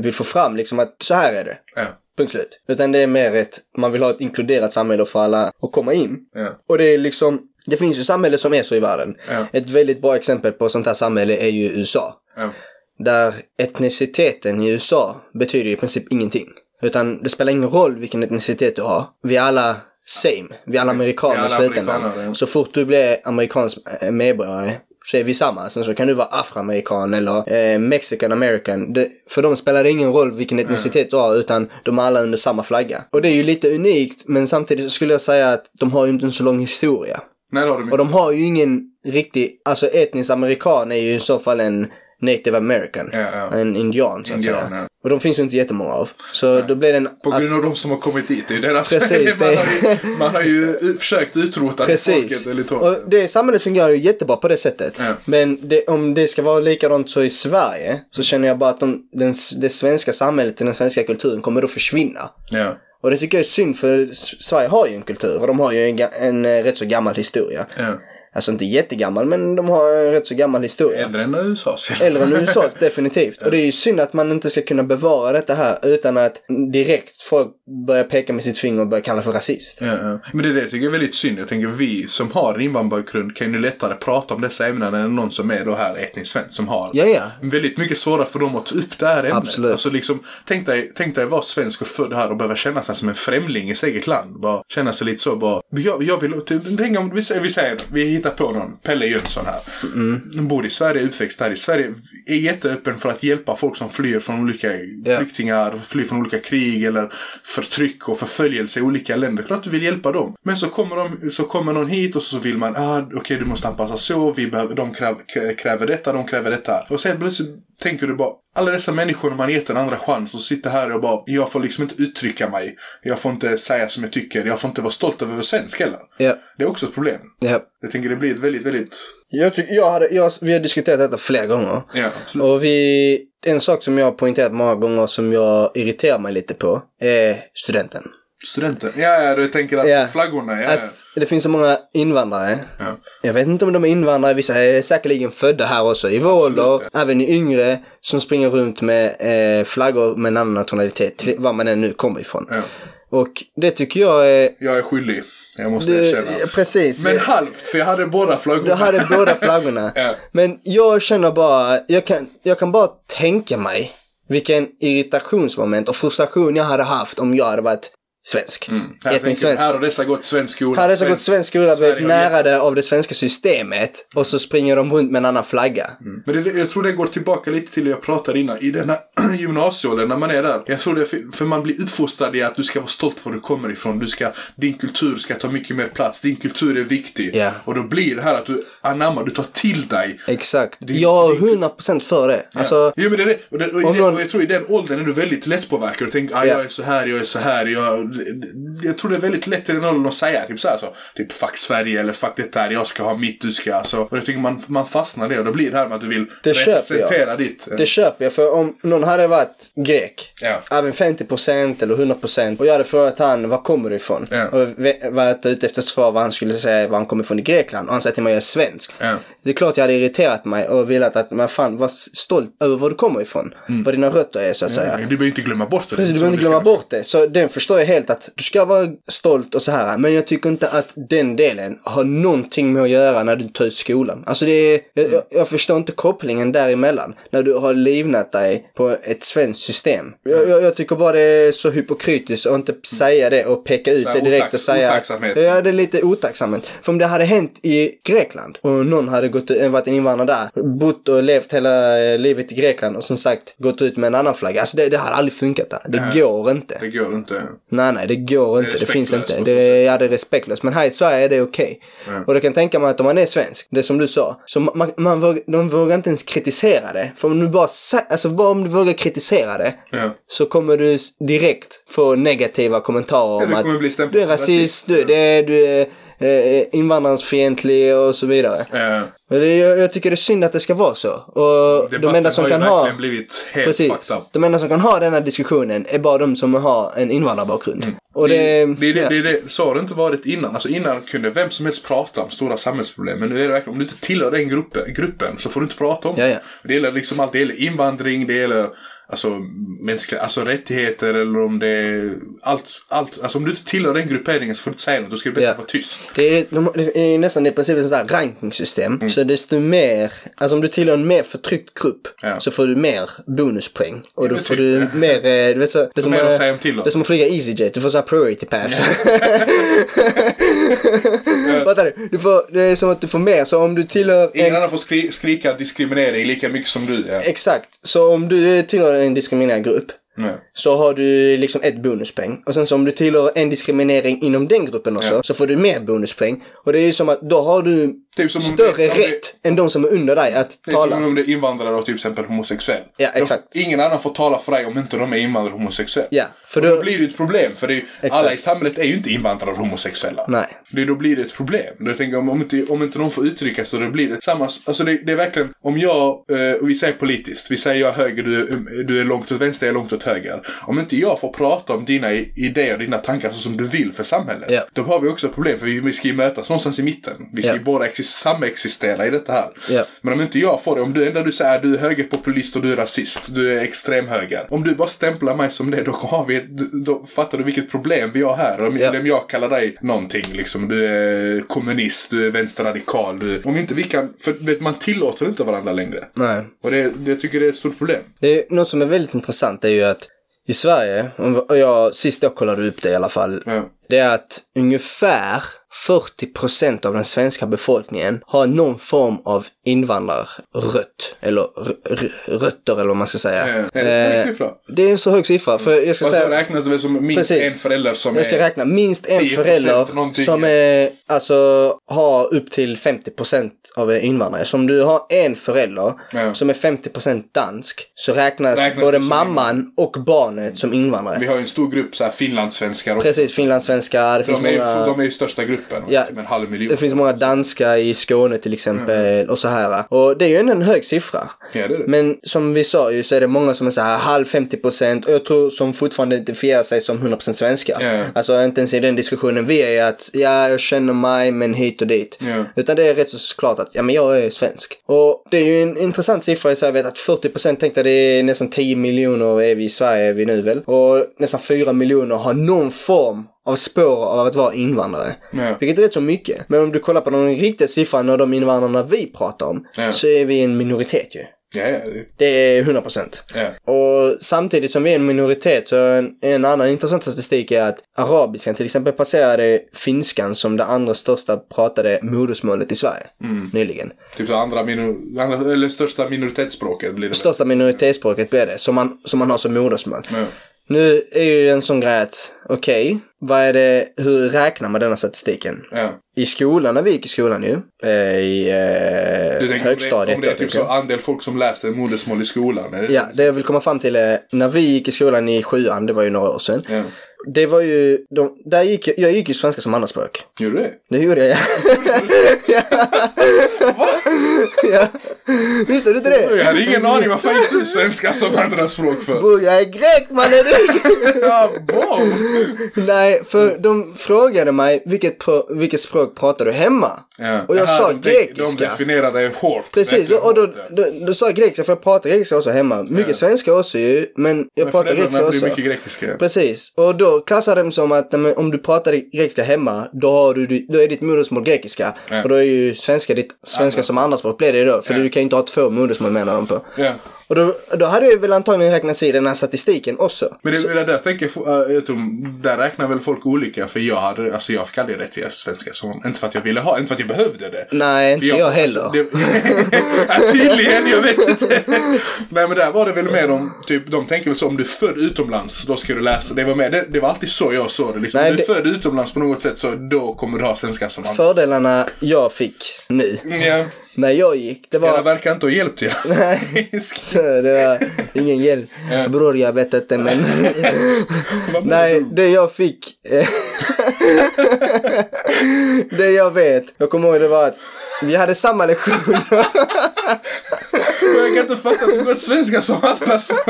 vill få fram. Liksom att så här är det. Ja, Punkt slut. Utan det är mer ett, man vill ha ett inkluderat samhälle för alla att komma in. ja, Och det är liksom, det finns ju samhällen som är så i världen. Ja. Ett väldigt bra exempel på sånt här samhälle är ju USA. ja. Där etniciteten i USA betyder i princip ingenting. Utan det spelar ingen roll vilken etnicitet du har. Vi är alla same. Vi är alla Mm. Vi amerikaner är i alla slutändan. amerikaner, ja. Så fort du blir amerikansk eh, medborgare så är vi samma. Sen så kan du vara afroamerikan eller eh, mexican american. Det, för dem spelar det ingen roll vilken Mm. etnicitet du har utan de är alla under samma flagga. Och det är ju lite unikt men samtidigt så skulle jag säga att de har ju inte en så lång historia. När har du Och de har ju ingen riktig, alltså etnisk amerikan är ju i så fall en native american. Ja, ja. En indian så att Indian, säga. ja. Och de finns ju inte jättemånga av. Så då blir det en... På att- grund av de som har kommit dit. Det är ju deras... Precis, man, det- har ju, man har ju u- försökt utrota folket Precis. väldigt hårt. Och det samhället fungerar ju jättebra på det sättet. Ja. Men det, om det ska vara likadant så i Sverige så känner jag bara att de, den, det svenska samhället och den svenska kulturen kommer då försvinna. Ja. Och det tycker jag är synd för S- Sverige har ju en kultur och de har ju en, ga- en eh, rätt så gammal historia. Ja. Alltså inte jättegammal men de har en rätt så gammal historia. Äldre än USA. Äldre än USAs definitivt. Och det är ju synd att man inte ska kunna bevara detta här utan att direkt folk börjar peka med sitt finger och börjar kalla för rasist. Ja, ja. Men det är det jag tycker är väldigt synd. Jag tänker vi som har en invandrarbakgrund kan ju lättare prata om dessa ämnen än någon som är då här etnisk svensk som har Ja, ja. väldigt mycket svårare för dem att ta upp det här ämnet. Absolut. Alltså liksom, tänk dig, tänk dig vara svensk och född här och behöva känna sig som en främling i sitt eget land. Bara känna sig lite så bara, jag, jag vill, typ, tänk om, vi säger, vi säger, vi hittar på någon, Pelle Jönsson här. Mm. Bor i Sverige, är uppväxt här i Sverige, är jätteöppen för att hjälpa folk som flyr från olika Ja. flyktingar, flyr från olika krig eller förtryck och förföljelse i olika länder. Klart du vill hjälpa dem. Men så kommer, de, så kommer någon hit och så vill man, ah, okej du måste anpassa så, vi behöver, de kräv, k- kräver detta, de kräver detta. Och sen plötsligt tänker du bara, alla dessa människor man gett en andra chans och sitter här och bara, jag får liksom inte uttrycka mig. Jag får inte säga som jag tycker, jag får inte vara stolt över att vara svensk heller. Ja, Det är också ett problem. ja. Jag tänker det blir ett väldigt, väldigt... Jag tycker, jag hade, jag, vi har diskuterat detta flera gånger. Ja, absolut. Och vi, en sak som jag har poängterat många gånger som jag irriterar mig lite på är studenten. Studenten. Ja, ja, du tänker att Ja. flaggorna, ja. Att det finns så många invandrare. Ja. Jag vet inte om de är invandrare, vissa är säkerligen födda här också i vår ålder, även i yngre, som springer runt med eh, flaggor med en annan nationalitet, till, var man än nu kommer ifrån. ja. Och det tycker jag är... Jag är skyldig. Jag måste Det, erkänna. precis. Men halvt, för jag hade båda flaggorna. Du hade båda flaggorna. Ja. Men jag känner bara, jag kan, jag kan bara tänka mig vilken irritationsmoment och frustration jag hade haft om jag hade varit svensk. Mm. Här, tänker, Etnisk svensk. svensk. här har dessa gått svensk skola. Här hade jag gått svensk skola, Sverige blivit har gett- närade av det svenska systemet och så springer de runt med en annan flagga. Men det, jag tror det går tillbaka lite till det jag pratade innan. I den här gymnasieåldern när man är där. Jag tror det är för, för man blir uppfostrad i att du ska vara stolt var du kommer ifrån. Du ska, din kultur ska ta mycket mer plats. Din kultur är viktig. Ja. Och då blir det här att du anammar, du tar till dig. Exakt. Det- Jag är det- 100% för det. Alltså, Jo, men det är det. Och, den, och, i Om den- någon- och jag tror i den åldern är du väldigt lättpåverkad. Du tänker, ah, Ja. jag är så här, jag är så här. Jag, jag tror det är väldigt lätt i den åldern att säga typ så här så. Typ fuck Sverige eller fuck det där, jag ska ha mitt, du ska. Alltså, och jag tycker man, man fastnar i det och då blir det här med att du vill Det köper jag. representera ditt. eh, Det köper jag, för om någon hade varit grek, Ja. även 50% eller 100% och jag hade frågat han var kommer du ifrån? Ja. Och ve- varit ute efter ett svar vad han skulle säga var han kommer ifrån i Grekland och han säger till mig jag är svensk. Ja. Det är klart jag hade irriterat mig och velat att man fan var stolt över var du kommer ifrån. Mm. Var dina rötter är så att säga. Du behöver inte glömma bort det. Precis, du behöver inte glömma bort det. Så den förstår jag helt att du ska vara stolt och så här. Men jag tycker inte att den delen har någonting med att göra när du tar ut skolan. Alltså det är, jag- jag, jag förstår inte kopplingen däremellan. När du har livnat dig på ett svenskt system. Jag, jag, jag tycker bara det är så hypokritiskt att inte säga det och peka ut Ja, det direkt otack- och säga att- otacksamhet. Ja, det är lite otacksamt. För om det hade hänt i Grekland och någon hade gått, varit en invandrare där, bott och levt hela eh, livet i Grekland och som sagt gått ut med en annan flagga. Alltså det, det hade aldrig funkat där. Det Nej. går inte. Det går inte. Nej, nej, det går inte. Det, finns respektlöst, inte. så att Det, är- ja, det är respektlöst. Men här i Sverige är det okej. Och du kan tänka mig att om man är svensk, det som du sa, så ma- man, man våg, de vågar inte ens kritisera det. För om du bara, sa- alltså bara om du vågar kritisera det, Ja. så kommer du s- direkt få negativa kommentarer Ja, om du att kommer bli stämplad du är som rasist, rasist. du, det, är- du är eh, invandrarsfientlig och så vidare. Eh, Och det, jag, jag tycker det är synd att det ska vara så. Och debatten de enda som har ju kan ha... verkligen blivit helt Precis. fucked up. De enda som kan ha den här diskussionen är bara de som har en invandrarbakgrund. Och det... Mm. det, det, är det, ja. det, är det, så har det inte varit innan. Alltså innan kunde vem som helst prata om stora samhällsproblem. Men nu är det verkligen, om du inte tillhör den gruppen, gruppen så får du inte prata om Ja, ja. det. Det gäller liksom allt. Det gäller invandring, det gäller alltså, mänskliga, alltså rättigheter eller om det är allt, allt. Alltså om du inte tillhör den grupperingen så får du inte säga något. Då ska du bättre Ja. vara tyst. Det är, de, det är ju nästan i princip ett sånt där rankingsystem. Mm. Så desto mer, alltså om du tillhör en mer förtryckt grupp Ja. så får du mer bonuspoäng. Och då men får typ. du mer, eh, du vet så, det, är som, mer att eh, säga om till då. det är som att flyga EasyJet, du får så här priority pass. Fattar du? du får, det är som att du får mer, så om du tillhör Ingen en annan får skri, skrika diskriminering lika mycket som du. Eh, Ja. Exakt, så om du tillhör en diskriminerad grupp Ja. så har du liksom ett bonuspoäng. Och sen så om du tillhör en diskriminering inom den gruppen också Ja. så får du mer bonuspoäng. Och det är ju som att då har du Typ som om större det- om det- rätt än de som är under dig att Det är som tala. om det är invandrare och typ, till exempel homosexuell. Ja, De- exakt. Ingen annan får tala för dig om inte de är invandrare och homosexuella. Ja, för för då, då- blir det ju ett problem. För det är, ju- Exakt. alla i samhället är ju inte invandrare och homosexuella. Nej. Det, då blir det ett problem. Då tänker jag, om, om, inte, om inte de får uttrycka sig då blir det samma. Alltså det, det är verkligen, om jag, eh, och vi säger politiskt, vi säger jag är höger, du, är- du är långt åt vänster, jag är långt åt höger. Om inte jag får prata om dina i- idéer och dina tankar så som du vill för samhället. Ja. Då har vi också ett problem för vi vi ska ju mötas någonstans i mitten. Vi ska Ja. ju båda exis- samexistera i detta här. Ja. Men om inte jag får det, om du enda du säger är du är högerpopulist och du är rasist, du är extremhöger. Om du bara stämplar mig som det, då, har vi, ett- då fattar du vilket problem vi har här. Om, Ja. om jag kallar dig någonting, liksom, du är kommunist, du är vänsterradikal. Du, om inte vi kan, för vet, man tillåter inte varandra längre. Nej. Och det, det, jag tycker det är ett stort problem. Det är, något som är väldigt intressant är ju att i Sverige, om- och jag, sist jag kollade upp det i alla fall, Ja. det är att ungefär 40% av den svenska befolkningen har någon form av invandrarrött. Eller r- r- rötter eller vad man ska säga. Eh, är det en hög Eh, siffra? Det är en så hög siffra. För jag ska Fast det säga... räknas det väl som minst Precis. en förälder som Jag ska är... räkna minst en 10% förälder någonting. som är, alltså, har upp till 50% av en invandrare. Så om du har en förälder Ja. som är 50% dansk så räknas, Räknas både det som mamman och barnet som invandrare. Vi har ju en stor grupp så här, finlandssvenskar. Och, Precis, finlandssvenskar, det finns de, är, ju- många... de är ju största gruppen. Ja. Typ en halv miljon. Det finns många danska i Skåne till exempel och så här. Och det är ju ändå en hög siffra. Ja, det är det. Men som vi sa ju så är det många som är så här halv 50 procent och jag tror som fortfarande identifierar sig som 100 procent svenska. Ja. Alltså inte ens i den diskussionen vi är i att ja, jag känner mig men hit och dit. Ja. Utan det är rätt så klart att ja, men jag är svensk. Och det är ju en intressant siffra i Sverige vet att 40 procent tänkte det är nästan 10 miljoner är vi i Sverige är vi nu väl. Och nästan 4 miljoner har någon form av spår av att vara invandrare. Ja. Vilket är rätt så mycket. Men om du kollar på den riktiga siffran av de invandrarna vi pratar om Ja. så är vi en minoritet ju. Ja, ja, det- Det är 100 procent. ja. Och samtidigt som vi är en minoritet så är en, en annan intressant statistik är att arabiskan till exempel passerade finskan som det andra största pratade modersmålet i Sverige Mm. nyligen. Typ så andra, minor, andra eller största minoritetsspråket blir det väl. Största minoritetsspråket blev det, som man, som man har som modersmål. Ja. Nu är ju en sån grej att, okej, vad är det, hur räknar man denna statistiken? Ja. I skolan, när vi gick i skolan ju, eh, i Du eh, tänker om det, högstadiet. om det är då, typ tänker jag. så andel folk som läser modersmål i skolan? Är det Ja, det jag vill komma fram till är, när vi gick i skolan i sjuan, det var ju några år sedan. Ja. Det var ju, de, där gick, jag- jag gick ju svenska som andraspråk. Gjorde du det? Det gjorde jag ja. ja. Visste du inte Jag det? hade ingen aning, vad fan gick du svenska som andraspråk för? Bror, jag är grek mannen! Ja, wow! Nej, för de frågade mig vilket, pro- vilket språk pratar du hemma? Ja. Och jag Aha, sa de, de- De grekiska. definierade hårt. Precis, verkligen och då, hårt, ja. då, då sa jag grekiska för jag pratar grekiska också hemma. Mycket Ja. svenska också ju, men jag Men pratar föräldrarna grekiska blir också. mycket grekiska. Precis, och då klassade de som att nej, men, om du pratar grekiska hemma, då, har du, då är ditt modersmål grekiska. Ja. Och då är ju svenska ditt svenska Andra. som andraspråk blir det ju då, för Ja. du kan ju inte ha två modersmål menar de på. Ja. Och då, då hade jag väl antagligen räknats i den här statistiken också. Men det, det där tänker jag, eh, jag tror, där räknar väl folk olika. För jag hade, alltså jag fick aldrig rätt i svenska. Så, inte för att jag ville ha, inte för att jag behövde det. Nej, inte jag, heller. Alltså, det, ja, tydligen, jag vet inte. Nej men där var det väl mer om, typ, de tänker väl så om du är född utomlands, då ska du läsa. Det var, mer, det, det var alltid så jag såg det. Liksom. Nej, om du är det- född utomlands på något sätt så då kommer du ha svenska som andra. Fördelarna jag fick nu, Ja, när jag gick, det det var... verkar inte ha hjälpt er. Nej. Så det var ingen hjälp. Bror, jag vet inte men... Nej, det jag fick... eh, det jag vet, jag kommer ihåg det var att vi hade samma lektion. Jag kan inte fatta att du gått svenska som andra språk.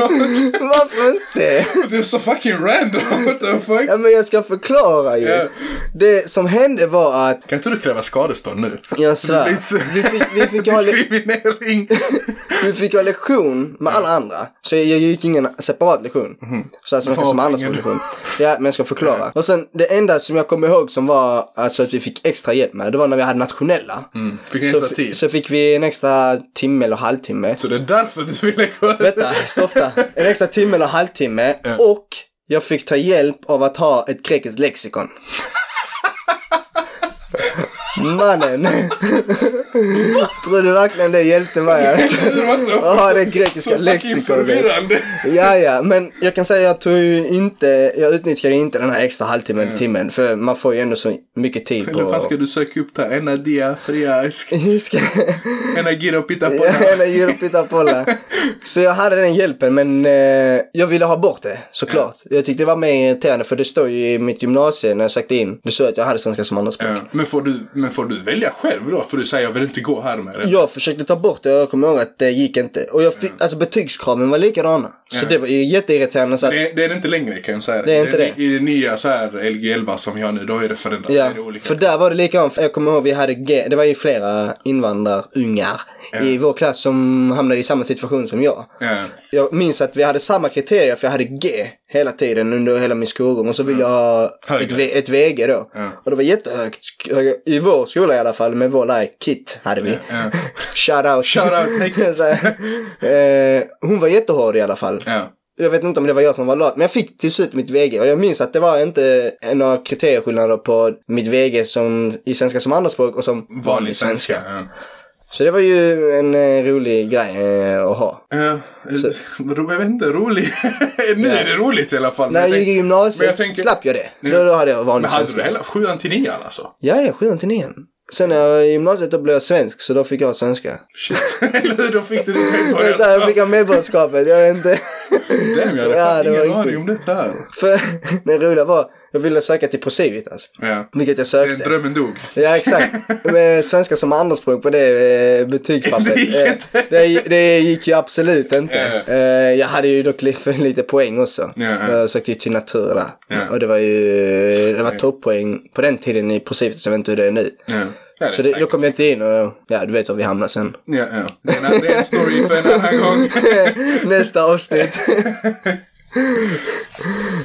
Varför inte? Det är så fucking random. What the fuck? Ja, men jag ska förklara Ja. ju. Det som hände var att, Kan inte du kräva skadestånd nu? jag Du svär, blir så- vi fick, vi fick ha... le- Diskriminering. Vi fick ha lektion med alla andra. Så jag gick ingen separat lektion. Så alltså, Vad som andra Mhm. ingen- lektion. Ja, men jag ska förklara. Och sen det enda som jag kommer ihåg som var alltså, att vi fick extra hjälp med, det var när vi hade nationella. Fick en Mm. Så, Mm. extra fi- tid. så fick vi en extra timme eller halvtimme. Så det är därför du ville gå Vänta, stofta. En extra timme eller halvtimme. Och jag fick ta hjälp av att ha ett grekiskt lexikon. Mannen. Tror du verkligen det hjälpte mig? Alltså? Att ha det grekiska Så fucking lexikonet. förvirrande. Ja, ja, men jag kan säga jag tog ju inte, jag utnyttjade inte den här extra halvtimmen, timmen, för man får ju ändå så mycket tid Eller på... fan ska du söka upp där? Ena dia fria esk. Ska... Ena gira och pitta på Eller Europita Polla. Så jag hade den hjälpen, men eh, jag ville ha bort det, såklart. Jag tyckte det var mer irriterande, för det står ju i mitt gymnasie när jag sökte in, det stod att jag hade svenska som andraspråk. Ja. Men får, du, men får du välja själv då? För du säger jag vill inte gå här med det. Jag försökte ta bort det och jag kommer ihåg att det gick inte. Och jag fick, alltså betygskraven var likadana. Så det var ju jätteirriterande. Så att, Det, det är det inte längre kan jag säga. Det är inte det. I det nya så här LG11 som vi har nu, då är det förändrat. Ja, Det är olika. för där var det likadant. För Jag kommer ihåg vi hade, G- det var ju flera invandrarungar i vår klass som hamnade i samma situation som jag. Ja. Jag minns att vi hade samma kriterier för jag hade G hela tiden under hela min skolgång och så ville jag ha Mm. Högre. ett, v- ett VG då. Ja. Och det var jättehögt. I vår skola i alla fall, med vår lärare Kit hade vi. Ja. Shout out. Shout out, hej, Kit. Så här. Eh, Hon var jättehård i alla fall. Ja. Jag vet inte om det var jag som var lat, men jag fick till slut mitt VG. Och jag minns att det var inte några kriterieskillnader på mitt VG som, i svenska som andraspråk och som Vanlig svenska. Ja. Så det var ju en eh, rolig grej eh, att ha. Ja, Så- ro- jag vet inte, rolig. nu är det roligt i alla fall. När Men jag gick i gymnasiet men jag tänker- slapp jag det. Ja. Då, då hade jag vanlig Men hade du svenska. hela sjuan till nian alltså? Ja, ja, sjuan till nian. Sen när jag var i gymnasiet då blev jag svensk, så då fick jag svenska. Shit. Eller hur? Då fick du ditt Men så här, jag medborgarskap. fick jag medborgarskapet, jag vet inte. Damn, jag hade Ja, fan det var ingen aning riktigt. om detta här. För det roliga var, jag ville söka till Procivitas. Ja. Vilket jag Den sökte. drömmen dog. Ja, exakt. Med svenska som andraspråk på det eh, betygspappret. Det gick Eh, inte. Det, det gick ju absolut inte. Ja. Eh, Jag hade ju dock li- för lite poäng också. Ja, ja. Jag sökte ju till natur där. Ja. Och det var ju det var toppoäng på den tiden i Procivitas, jag vet inte hur det är nu. Ja. Ja, Så det, det, då kom jag inte in och ja, du vet var vi hamnar sen. ja, ja. Det, är en, det är en story för en annan gång. Nästa avsnitt.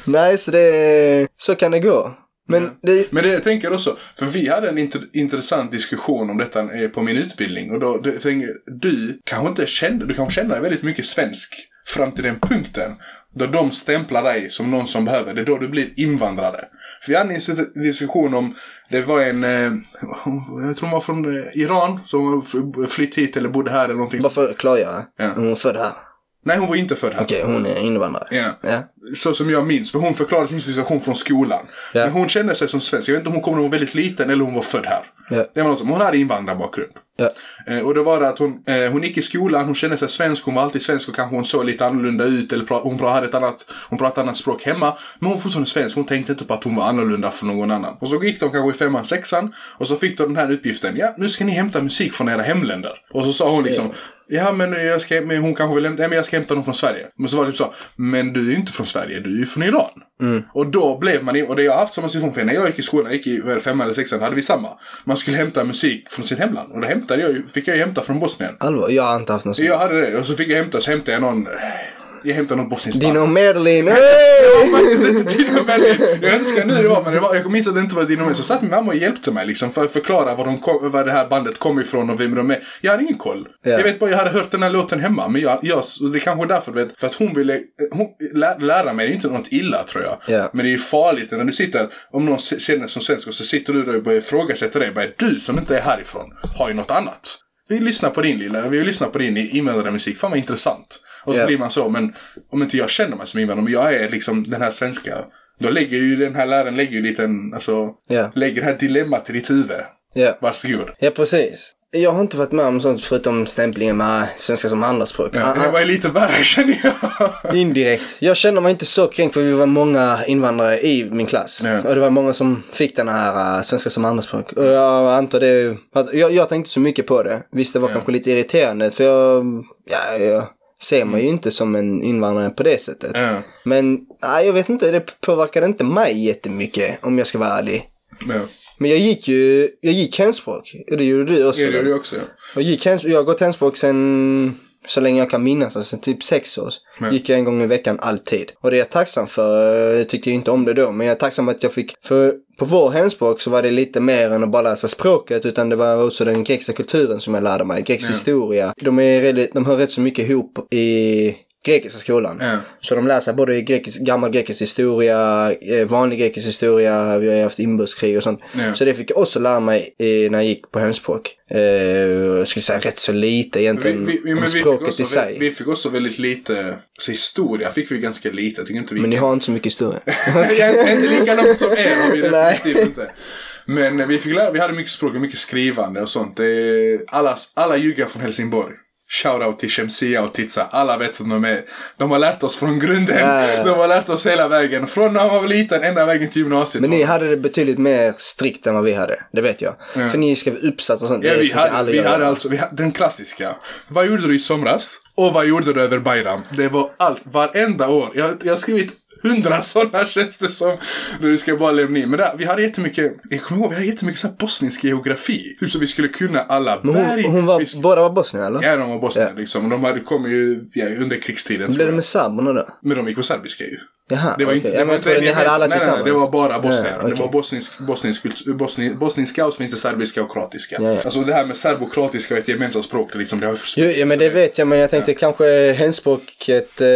Nej, så det, så kan det gå. Men det, Men det jag tänker också, för vi hade en inter- intressant diskussion om detta eh, på min utbildning. Och då det- jag tänker du kanske inte kände, du kanske känner dig väldigt mycket svensk fram till den punkten. Då de stämplar dig som någon som behöver, det är då du blir invandrare. För vi hade en dis- diskussion om, det var en, eh, jag tror hon var från eh, Iran, som har f- flytt hit eller bodde här eller någonting. bara för att klargöra. Ja. Hon är född här. Nej, hon var inte född här. Okej, hon är invandrare. Ja. Ja. så som jag minns. För hon förklarade sin situation från skolan. Ja. Men hon kände sig som svensk. Jag vet inte om hon kom när hon var väldigt liten eller hon var född här. Ja. Det var något som, hon hade invandrarbakgrund. Ja. Eh, och det var det att hon, eh, hon gick i skolan, hon kände sig svensk, hon var alltid svensk och kanske hon såg lite annorlunda ut. Eller pra- hon, pra- hade ett annat, hon pratade annat språk hemma. Men hon var fortfarande svensk, hon tänkte inte på att hon var annorlunda från någon annan. Och så gick de kanske i femman, sexan. Och så fick de den här uppgiften. Ja, nu ska ni hämta musik från era hemländer. Och så sa hon liksom. Ja men, jag ska, men hon kanske vill hämta, ja, men jag ska hämta någon från Sverige. Men så var det typ så. Men du är ju inte från Sverige, du är ju från Iran. Och då blev man, in- och det jag har haft som situation, för när jag gick i skolan, jag gick i vad är det, femman eller sexan, hade vi samma. Man skulle hämta musik från sitt hemland. Och då hämtade jag, ju- fick jag ju hämta från Bosnien. Allvar, jag har inte haft någon sån. Jag hade det, och så fick jag hämta, så hämtade jag någon, jag hämtade någon bosnisk band. Dino Medlin, Jag har hey! faktiskt inte till och med- Jag önskar nu det var, men det var, jag minns att det inte var Dino Med. Så satt min mamma och hjälpte mig liksom, för att förklara var, de kom, var det här bandet kom ifrån och vem de är. Jag hade ingen koll. Ja. Jag vet bara, jag hade hört den här låten hemma. Men jag, jag, så det kanske är därför, du vet, för att hon ville eh, hon, lä, lära mig. Det är inte något illa tror jag. Ja. Men det är ju farligt när du sitter, om någon se- känner som svensk och så sitter du där och börjar ifrågasätta dig. Bara, du som inte är härifrån har ju något annat. Vi lyssnar på din lilla, vi lyssnar på din invandrarmusik. Fan vad intressant. Och så Ja. blir man så, men om inte jag känner mig som invandrare, men jag är liksom den här svenska. Då lägger ju den här läraren lägger ju en liten, alltså, Ja. lägger det här dilemmat i ditt huvud. Ja. Varsågod. ja, precis. Jag har inte varit med om sånt förutom stämplingen med svenska som andraspråk. Ja, Ah, Det ah, var ju lite värre känner jag. Indirekt. Jag känner mig inte så kränkt för vi var många invandrare i min klass. Ja. Och det var många som fick den här äh, svenska som andraspråk. Och jag antar det. att- Jag, jag tänkte inte så mycket på det. Visst det var Ja. kanske lite irriterande för jag, ja, jag ser mig ju inte som en invandrare på det sättet. Ja, Men nej, jag vet inte, det påverkade inte mig jättemycket om jag ska vara ärlig. ja. Men jag gick ju, jag gick hemspråk. Och Det gjorde du också. Ja, det väl? gjorde jag också. ja. Jag, gick hens, jag har gått hemspråk sen så länge jag kan minnas, alltså typ sex år. Ja. Gick jag en gång i veckan alltid. Och det är jag tacksam för. Jag tyckte ju inte om det då, men jag är tacksam att jag fick. För på vår hemspråk så var det lite mer än att bara läsa språket, utan det var också den grekiska kulturen som jag lärde mig. Grekisk Ja. historia. De, är, rel- de hör rätt så mycket ihop i grekiska skolan. Ja. Så de lär sig både grekisk, gammal grekisk historia, eh, vanlig grekisk historia, vi har ju haft inbördeskrig och sånt. Ja. Så det fick jag också lära mig eh, när jag gick på hemspråk. Eh, jag skulle säga rätt så lite Vi, egentligen vi, vi, men om vi, fick språket i också, sig. vi, vi fick också väldigt lite, så historia fick vi ganska lite. Jag tycker inte vi Men ni har inte så mycket historia. Nej, jag är inte lika långt som er har vi Nej. definitivt inte. Men eh, vi fick lära, vi hade mycket språk och mycket skrivande och sånt. Det är- Alla, alla juggar från Helsingborg. Shoutout till Shemsia och Titsa. Alla vet vem de är. De har lärt oss från grunden. Ja, ja, ja. De har lärt oss hela vägen. Från när man var liten ända vägen till gymnasiet. Men ni hade det betydligt mer strikt än vad vi hade. Det vet jag. För ni skrev uppsatser och sånt. Ja, Det vi fick jag hade, aldrig vi göra. hade alltså vi hade, den klassiska. Vad gjorde du i somras? Och vad gjorde du över Bayram? Det var allt, varenda år. Jag, jag har skrivit hundra sådana känns det som. Du ska bara lämna in. Men där, vi hade jättemycket, jag kommer ihåg, vi hade jättemycket så här bosnisk geografi. Typ så vi skulle kunna alla Men berg. hon, hon var, vi sk- båda var bosnier eller? Ja, de var bosnier Ja. liksom. Och de hade, kom ju ja, under krigstiden. Blev tror det jag. med serberna då? Men de gick på serbiska ju. Jaha, Det var Ah, okej. inte, Ja, det men var jag inte trodde ni hade alla nej, nej, nej, tillsammans. det var bara bosnier. Ja, Det okej. var bosnisk, bosnisk, kultur- bosnisk, bosniska och så finns det serbiska och kroatiska. Ja, ja. Alltså det här med serbokroatiska och ett gemensamt språk, det, liksom, det, har, Jo, ja, men det vet jag, men jag tänkte kanske hemspråket eh,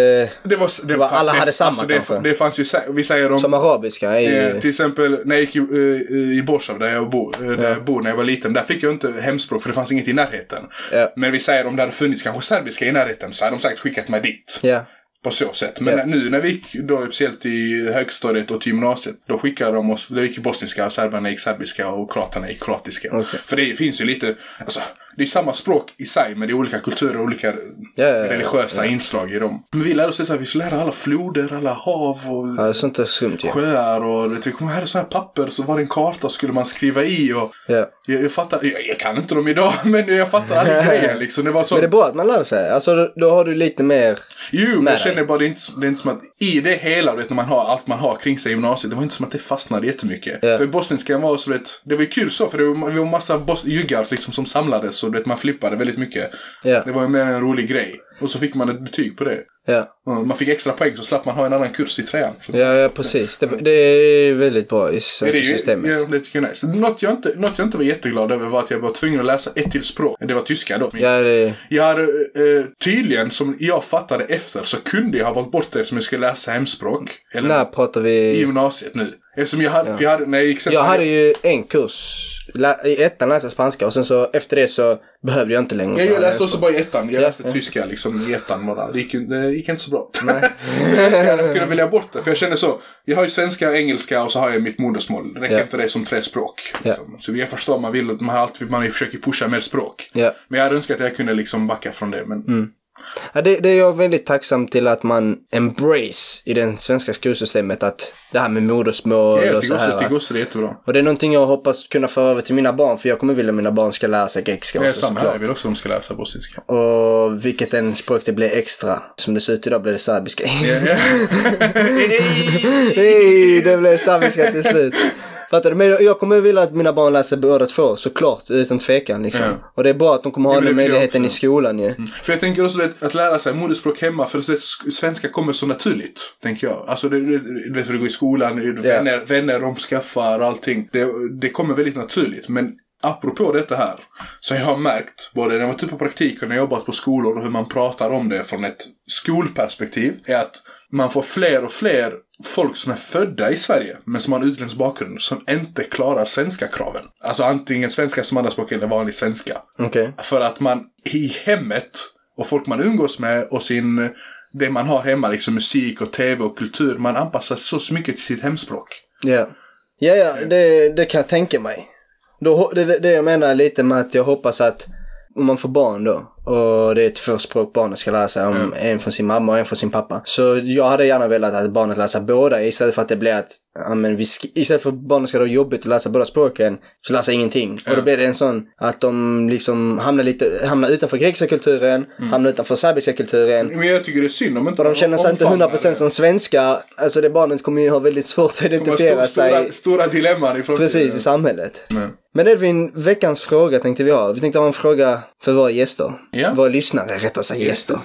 det var... Det var- alla hade samma alltså, det, kanske. det fanns ju, sä- vi säger om... som arabiska är ju... Eh, till exempel när jag gick i, eh, i Borshov där jag bor, eh, där jag bor när jag var liten. Där fick jag inte hemspråk för det fanns inget i närheten. Ja. Men vi säger om det hade funnits kanske serbiska i närheten så hade de säkert skickat mig dit. Ja. På så sätt. Men Ja. nu när vi gick då speciellt i högstadiet och till gymnasiet. Då skickade de oss, då gick bosniska och serberna gick serbiska och kroaterna gick kroatiska. Okej. För det finns ju lite, alltså det är samma språk i sig men det är olika kulturer och olika Ja, ja, ja. religiösa inslag i dem. Men vi lärde oss att vi skulle lära alla floder, alla hav och Ja, sånt är skumt ju. sjöar och du kommer här är sådana här papper så var det en karta skulle man skriva i och Ja. jag, jag fattar, jag, jag kan inte dem idag men jag fattar alla grejer liksom. Det var så, Men det är bra att man lär sig. Alltså, då- då har du lite mer... jo, men med jag känner bara det är, inte, det är inte som att i det hela, du vet när man har allt man har kring sig i gymnasiet, det var inte som att det fastnade jättemycket. Ja. För bosniskan var så, du vet, det var ju kul så för det var, det var massa bos- juggar liksom som samlades och du vet, man flippade väldigt mycket. Ja. Det var ju mer en rolig grej. Och så fick man ett betyg på det. Ja. Mm, Man fick extra poäng så slapp man ha en annan kurs i trean. Så- Ja, ja precis. Det, det är väldigt bra i svenska det är ju- systemet. Ja, det tycker jag är nice. Något jag, inte, något jag inte var jätteglad över var att jag var tvungen att läsa ett till språk. Det var tyska då. Ja, det, Jag hade eh, tydligen, som jag fattade efter, så kunde jag ha valt bort det eftersom jag skulle läsa hemspråk. Eller när pratar i vi... gymnasiet nu. Eftersom jag hade, för jag hade, när jag gick sen, Jag hade ju en kurs. lä- I ettan läste jag spanska och sen så efter det så behövde jag inte längre. Ja, för jag hade läste också bara i ettan. Jag Ja, läste ja. tyska liksom i ettan bara. Det gick, ju- det gick inte så bra. så jag önskar att jag kunde välja bort det. För jag kände så. Jag har ju svenska, engelska och så har jag mitt modersmål. Det räcker Ja. inte det som tre språk. Ja. Liksom. Så jag förstår man vill. Man, har alltid, man försöker pusha mer språk. Ja. Mm. Men jag hade önskat att jag kunde liksom backa från det. Men Ja, det, det är jag väldigt tacksam till att man embrace i det svenska skolsystemet att det här med modersmål jag och tycker så också, här. jag tycker va. också det är jättebra. Och det är någonting jag hoppas kunna föra över till mina barn för jag kommer vilja att mina barn ska lära sig grekiska Det är också samma här. Jag såklart. vill också att de ska läsa bosniska. Och vilket en språk det blir extra. Som det ser ut idag blir det serbiska. Hej, det blev serbiska till slut. Fattar du? Men jag kommer vilja att mina barn läser båda två såklart, utan tvekan liksom. Ja. Och det är bra att de kommer ha Ja, men den det vill jag möjligheten i också. Mm. skolan ju. För jag tänker också att, att lära sig modersspråk hemma, för att sk- svenska kommer så naturligt, tänker jag. Alltså, du, du, du vet, för du går i skolan, du- Ja. vänner, vänner de skaffar, allting. Det, det kommer väldigt naturligt, men apropå detta här, så jag har märkt, både när jag varit ute på praktik och när jag jobbat på skolor och hur man pratar om det från ett skolperspektiv, är att man får fler och fler folk som är födda i Sverige, men som har en utländsk bakgrund, som inte klarar svenska kraven. Alltså antingen svenska som andraspråk eller vanlig svenska. Okej. För att man i hemmet och folk man umgås med och sin, det man har hemma, liksom musik och tv och kultur, man anpassar så så mycket till sitt hemspråk. Ja. Ja, ja, det, det kan jag tänka mig. Då, ho- det, det det jag menar lite med att jag hoppas att om man får barn då och det är ett förspråk barnet ska lära sig, om en från sin mamma och en från sin pappa. Så jag hade gärna velat att barnet läser båda istället för att det blir att, ja, men vi sk- istället för att barnet ska ha jobbigt att läsa båda språken så läser jag ingenting. Och då blir det en sån att de liksom hamnar lite, hamnar utanför grekiska kulturen, hamnar utanför serbiska kulturen. Men jag tycker det är synd om inte Och de känner sig inte 100% som svenskar. Alltså det barnet kommer ju ha väldigt svårt att identifiera stora, sig stora, stora dilemman i framtiden. Precis, i samhället. Mm. Men Edvin, veckans fråga tänkte vi ha. Vi tänkte ha en fråga för våra gäster. Ja. Våra lyssnare, rättare sagt Yes. gäster.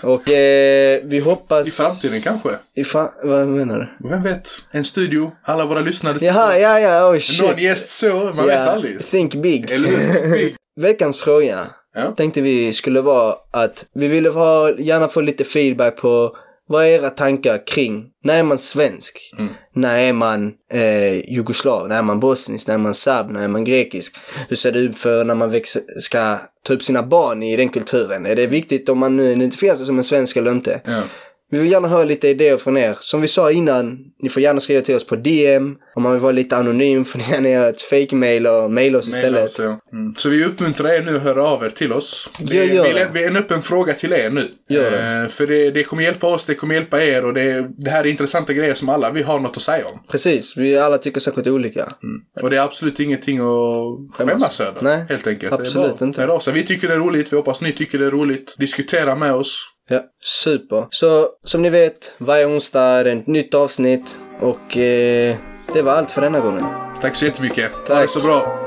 Och eh, vi hoppas... I framtiden kanske. I fra- Vad menar du? Vem vet? En studio, alla våra lyssnare. Jaha, ja, ja, oh shit. Någon gäst så, man vet Ja, aldrig. Think big. Eller hur? Veckans fråga Ja. tänkte vi skulle vara att vi ville ha, gärna få lite feedback på vad är era tankar kring när är man svensk? Mm. När är man eh, jugoslav? När är man bosnisk? När är man serb? När är man grekisk? Hur ser det ut för när man växer, ska ta upp sina barn i den kulturen? Är det viktigt om man nu identifierar sig som en svensk eller inte? Ja. Vi vill gärna höra lite idéer från er. Som vi sa innan, ni får gärna skriva till oss på DM. Om man vill vara lite anonym får ni gärna göra ett fake-mail och mejla oss istället. Mejla oss, ja. Mm. Så vi uppmuntrar er nu att höra av er till oss. Vi, Ja, gör vi, det. vi är en öppen fråga till er nu. Gör Eh, för det, det kommer hjälpa oss, det kommer hjälpa er och det, det här är intressanta grejer som alla vi har något att säga om. Precis, vi alla tycker säkert olika. Och det är absolut ingenting att skämmas över. Nej, helt enkelt. absolut det är bara- inte. hör av sig. Vi tycker det är roligt, vi hoppas ni tycker det är roligt. Diskutera med oss. Ja, super. Så som ni vet, varje onsdag är det ett nytt avsnitt och eh, det var allt för denna gången. Tack så jättemycket. Ha Tack. det så bra.